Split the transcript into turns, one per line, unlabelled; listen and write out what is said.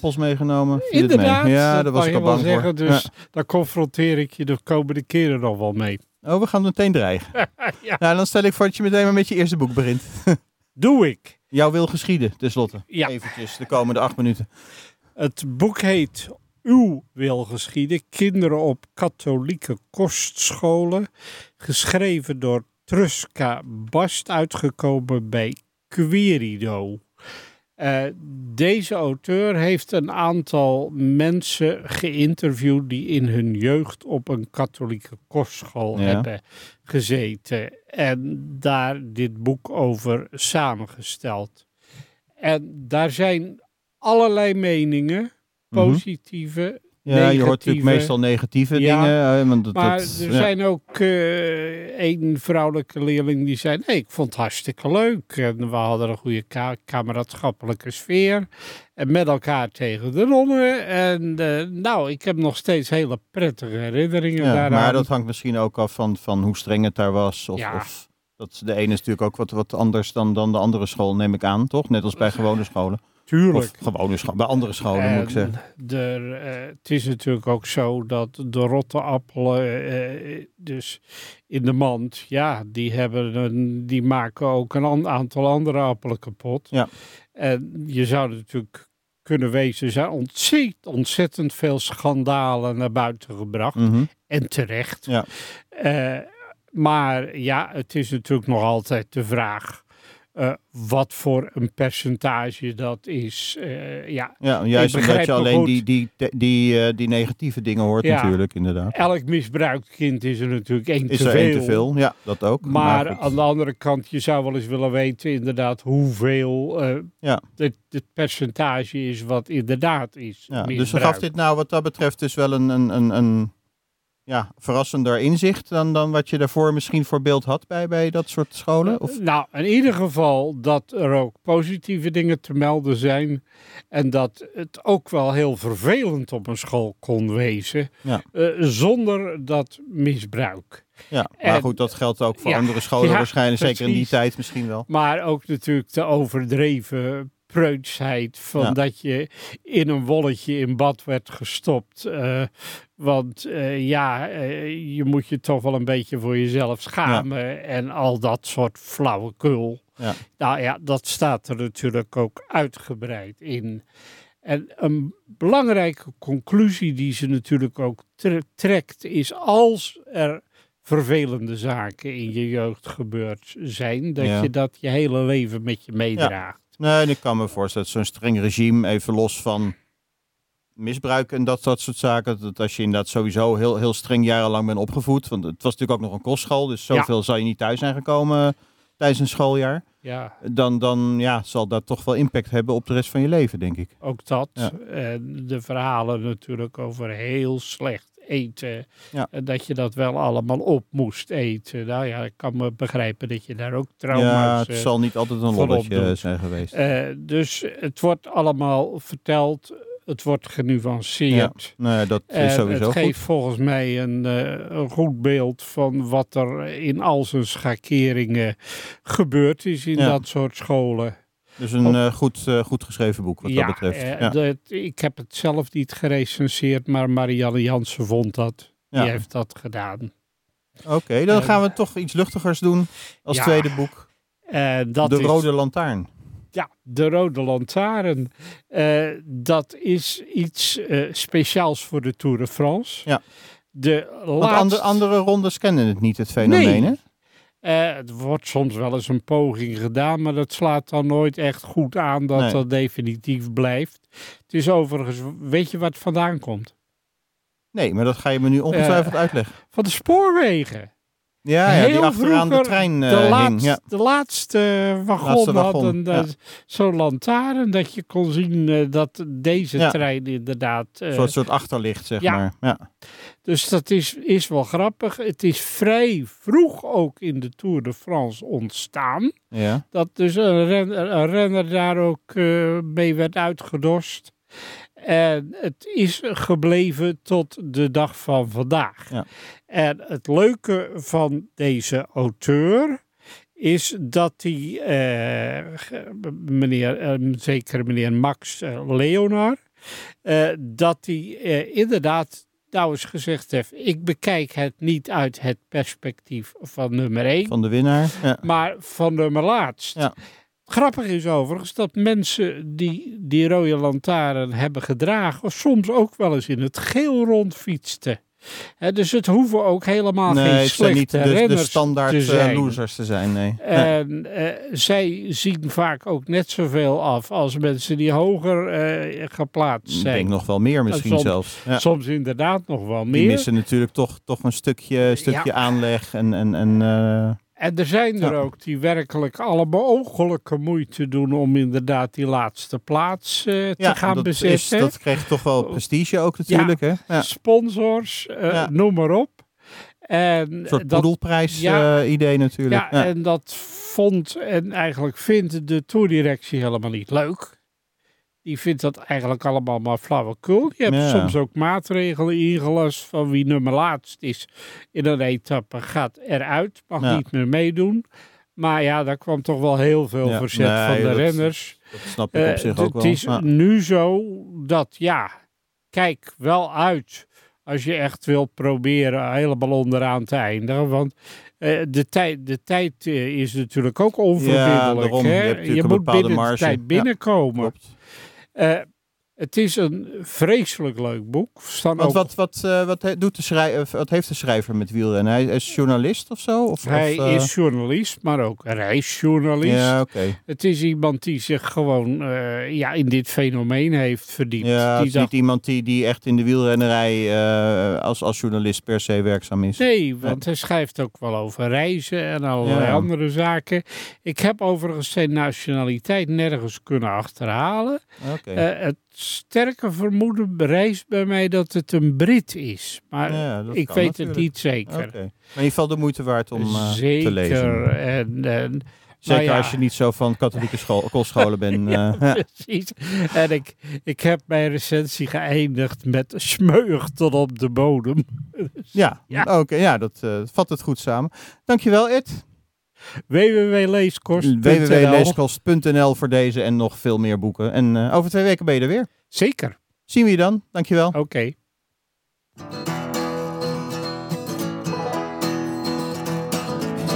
appels meegenomen. Viel het mee?
Inderdaad,
Ja, daar was
kan
ik al
je wel
bang voor.
zeggen, Dus daar confronteer ik je de komende keren nog wel mee.
Ja. Oh, we gaan meteen dreigen.
Ja.
Nou, dan stel ik voor dat je meteen maar met je eerste boek begint.
Doe ik.
Jouw wil geschieden, tenslotte.
Ja.
Eventjes, de komende acht minuten.
Het boek heet Uw wil geschieden, kinderen op katholieke kostscholen, geschreven door Truska Bast, uitgekomen bij Querido. Eh, deze auteur heeft een aantal mensen geïnterviewd die in hun jeugd op een katholieke kostschool
Ja.
hebben gezeten en daar dit boek over samengesteld. En daar zijn allerlei meningen,
Mhm.
positieve.
Ja, je hoort natuurlijk
Negatieve.
meestal negatieve
Ja.
dingen. eh, Want dat,
Maar
dat-
er
ja.
zijn ook eh één vrouwelijke leerling die zei: nee, ik vond het hartstikke leuk. En we hadden een goede ka- kameraadschappelijke sfeer. En met elkaar tegen de nonnen. En eh, nou, ik heb nog steeds hele prettige herinneringen
Ja,
daaraan.
maar dat hangt misschien ook af van, van hoe streng het daar was. Of,
Ja.
of dat de ene is natuurlijk ook wat, wat anders dan, dan de andere school, neem ik aan, toch? Net als bij gewone scholen. Of
Eh, Tuurlijk. Eh,
gewone scholen, bij andere scholen Oh, moet ik
En
zeggen.
Ehm, er, eh, het is natuurlijk ook zo dat de rotte appelen, eh, dus in de mand, ja, die, hebben een, die maken ook een an- aantal andere appelen kapot.
Ja.
En je zou natuurlijk kunnen wezen, er zijn ontzettend, ontzettend veel schandalen naar buiten gebracht.
Mhm.
En terecht.
Ja.
Eh, maar ja, het is natuurlijk nog altijd de vraag. eh, wat voor een percentage dat is. Eh, ja,
Ja, juist omdat
begrijp
je
me
alleen
goed.
die, die, te- die, eh, die negatieve dingen hoort
Ja.
natuurlijk, inderdaad.
elk misbruikt kind is er natuurlijk één
Is
te
er
veel.
één te veel? Ja, dat ook.
Maar
goed.
aan de andere kant, je zou wel eens willen weten inderdaad hoeveel eh,
Ja.
het, het percentage is wat inderdaad is
ja, dus
misbruikt.
gaf dit nou wat dat betreft dus wel een, een, een, een ja, verrassender inzicht dan, dan wat je daarvoor misschien voor beeld had bij, bij dat soort scholen? Of?
Nou, in ieder geval dat er ook positieve dingen te melden zijn. En dat het ook wel heel vervelend op een school kon wezen.
Ja.
eh, zonder dat misbruik.
Ja, maar
En-
goed, dat geldt ook voor
eh, ja,
andere scholen
ja,
waarschijnlijk, zeker in die
precies.
tijd misschien wel.
Maar ook natuurlijk de overdreven preutsheid van
Ja.
dat je in een wolletje in bad werd gestopt. eh, want eh, ja, eh, je moet je toch wel een beetje voor jezelf schamen en al dat soort flauwekul.
Ja.
Nou ja, dat staat er natuurlijk ook uitgebreid in. En een belangrijke conclusie die ze natuurlijk ook tre- trekt is als er vervelende zaken in je jeugd gebeurd zijn, dat
Ja.
je dat je hele leven met je meedraagt.
Nee, en ik kan me voorstellen dat zo'n streng regime, even los van misbruik en dat, dat soort zaken, dat als je inderdaad sowieso heel, heel streng jarenlang bent opgevoed, want het was natuurlijk ook nog een kostschool, dus
Ja.
zoveel zou je niet thuis zijn gekomen eh, tijdens een schooljaar,
Ja,
dan, dan ja, zal dat toch wel impact hebben op de rest van je leven, denk ik.
ook dat.
Ja.
En de verhalen natuurlijk over heel slecht eten.
Ja.
En dat je dat wel allemaal op moest eten. Nou ja, ik kan me begrijpen dat je daar ook trauma's...
ja, het
eh,
zal niet altijd een
voorop
lolletje
doet.
zijn geweest.
eh, dus het wordt allemaal verteld. Het wordt genuanceerd.
Nee, dat is
En
sowieso
eh, het geeft
goed.
volgens mij een, eh, een goed beeld van wat er in al zijn schakeringen gebeurd is in
Ja.
dat soort scholen.
Dus een eh, goed, eh, goed geschreven boek wat dat betreft.
eh,
ja.
dat- ik heb het zelf niet gerecenseerd, maar Marianne Jansen vond dat.
Ja.
Die heeft dat gedaan.
Oké, dan
Eh,
gaan we toch iets luchtigers doen als
ja,
tweede boek.
Eh, dat
de
is,
Rode Lantaarn.
Ja, de Rode Lantaarn. Eh, dat is iets eh, speciaals voor de Tour de France.
Ja.
De
Want
laatste...
andere, andere rondes kennen het niet, het fenomeen, hè?
Nee. Eh, het wordt soms wel eens een poging gedaan, maar dat slaat dan nooit echt goed aan dat
Nee.
dat definitief blijft. Het is overigens, weet je wat het vandaan komt?
Nee, maar dat ga je me nu ongetwijfeld uitleggen.
Van de spoorwegen.
Ja, ja die
heel
achteraan de
vroeger
trein eh
de,
hing.
laatste,
Ja.
de laatste wagon
Laatste
had
wagon,
een, eh,
ja.
zo'n lantaarn dat je kon zien eh, dat deze
Ja.
trein inderdaad... eh,
Een soort, soort achterlicht, zeg
ja.
maar. Ja.
dus dat is, is wel grappig. Het is vrij vroeg ook in de Tour de France ontstaan.
Ja.
dat dus een renner, een renner daar ook eh, mee werd uitgedost. En het is gebleven tot de dag van vandaag.
Ja.
En het leuke van deze auteur is dat hij, eh, meneer, eh, zeker meneer Max eh, Leonar, eh, dat hij eh, inderdaad nou eens gezegd heeft: ik bekijk het niet uit het perspectief van nummer 1,
Van de winnaar. Ja.
maar van nummer laatst.
Ja.
Grappig is overigens dat mensen die die rode lantaarn hebben gedragen, soms ook wel eens in het geel rondfietsten. Hè, dus het hoeven ook helemaal Ah, geen
Nee, het zijn
slechte
niet de, de
renners
standaard
te
eh,
zijn.
losers te zijn. Nee. Nee.
En eh, zij zien vaak ook net zoveel af als mensen die hoger eh, geplaatst
Ik denk
zijn.
nog wel meer misschien
Soms-
zelfs. Ja.
Soms inderdaad nog wel
Die
Nou, meer.
missen natuurlijk toch, toch een stukje, een stukje aanleg. En, en, en, eh,
En er zijn er
Ja.
ook die werkelijk alle mogelijke moeite doen om inderdaad die laatste plaats eh,
ja,
te gaan Oh.
dat, is,
bezetten.
dat kreeg toch wel prestige ook natuurlijk. Hè? Ja.
Sponsors, eh,
Ja.
noem maar op. En
Een soort
dat
poedelprijs
ja.
eh, idee natuurlijk.
Ja,
Ja,
en dat vond en eigenlijk vindt de toerdirectie helemaal niet leuk. Die vindt dat eigenlijk allemaal maar flauwekul. Je hebt
Ja.
soms ook maatregelen ingelast van wie nummer laatst is in een etappe gaat eruit, mag
Ja.
niet meer meedoen. Maar ja, daar kwam toch wel heel veel
Ja,
verzet
nee,
van de
dat-
renners.
Dat snap ik op
Eh,
zich
d-
ook wel.
Het is
Ja.
nu zo dat, ja, kijk wel uit als je echt wil proberen helemaal onderaan te eindigen. Want eh, de, tijd, de tijd eh, is natuurlijk ook onverbiddelijk.
daarom. Je
hè?
hebt natuurlijk een
moet
bepaalde
binnen de
marge. Ja,
tijd binnenkomen.
Klopt.
Eh, het is een vreselijk leuk boek. Er Staan
Wat,
ook,
wat, wat, eh, wat, he- doet de schrij- of wat heeft de schrijver met wielrennen? Hij is journalist of zo? Of, of,
hij
eh,
is journalist, maar ook reisjournalist.
Ja, oké.
Het is iemand die zich gewoon eh, ja, in dit fenomeen heeft verdiept.
Ja, het
die
is
dacht,
niet iemand die, die echt in de wielrennerij eh, als, als journalist per se werkzaam is.
Nee, want hij schrijft ook wel over reizen en allerlei
Ja.
andere zaken. Ik heb overigens zijn nationaliteit nergens kunnen achterhalen.
Oké.
Eh, het sterke vermoeden bereist bij mij dat het een Brit is. Maar
Ja, dat
ik
kan
weet het
natuurlijk.
niet zeker.
Oké. Maar in ieder geval de moeite waard om eh,
zeker.
te lezen.
En, en,
Zeker
ja.
als je niet zo van katholieke school, kostscholen bent. eh, ja.
precies. En ik, ik heb mijn recensie geëindigd met smeuig tot op de bodem.
Ja,
Ja.
oké. ja, dat eh, vat het goed samen. Dankjewel Ed.
www.leeskost.nl
www.leeskost.nl voor deze en nog veel meer boeken. En eh, over twee weken ben je er weer.
Zeker,
Zien we je dan. Dankjewel.
oké.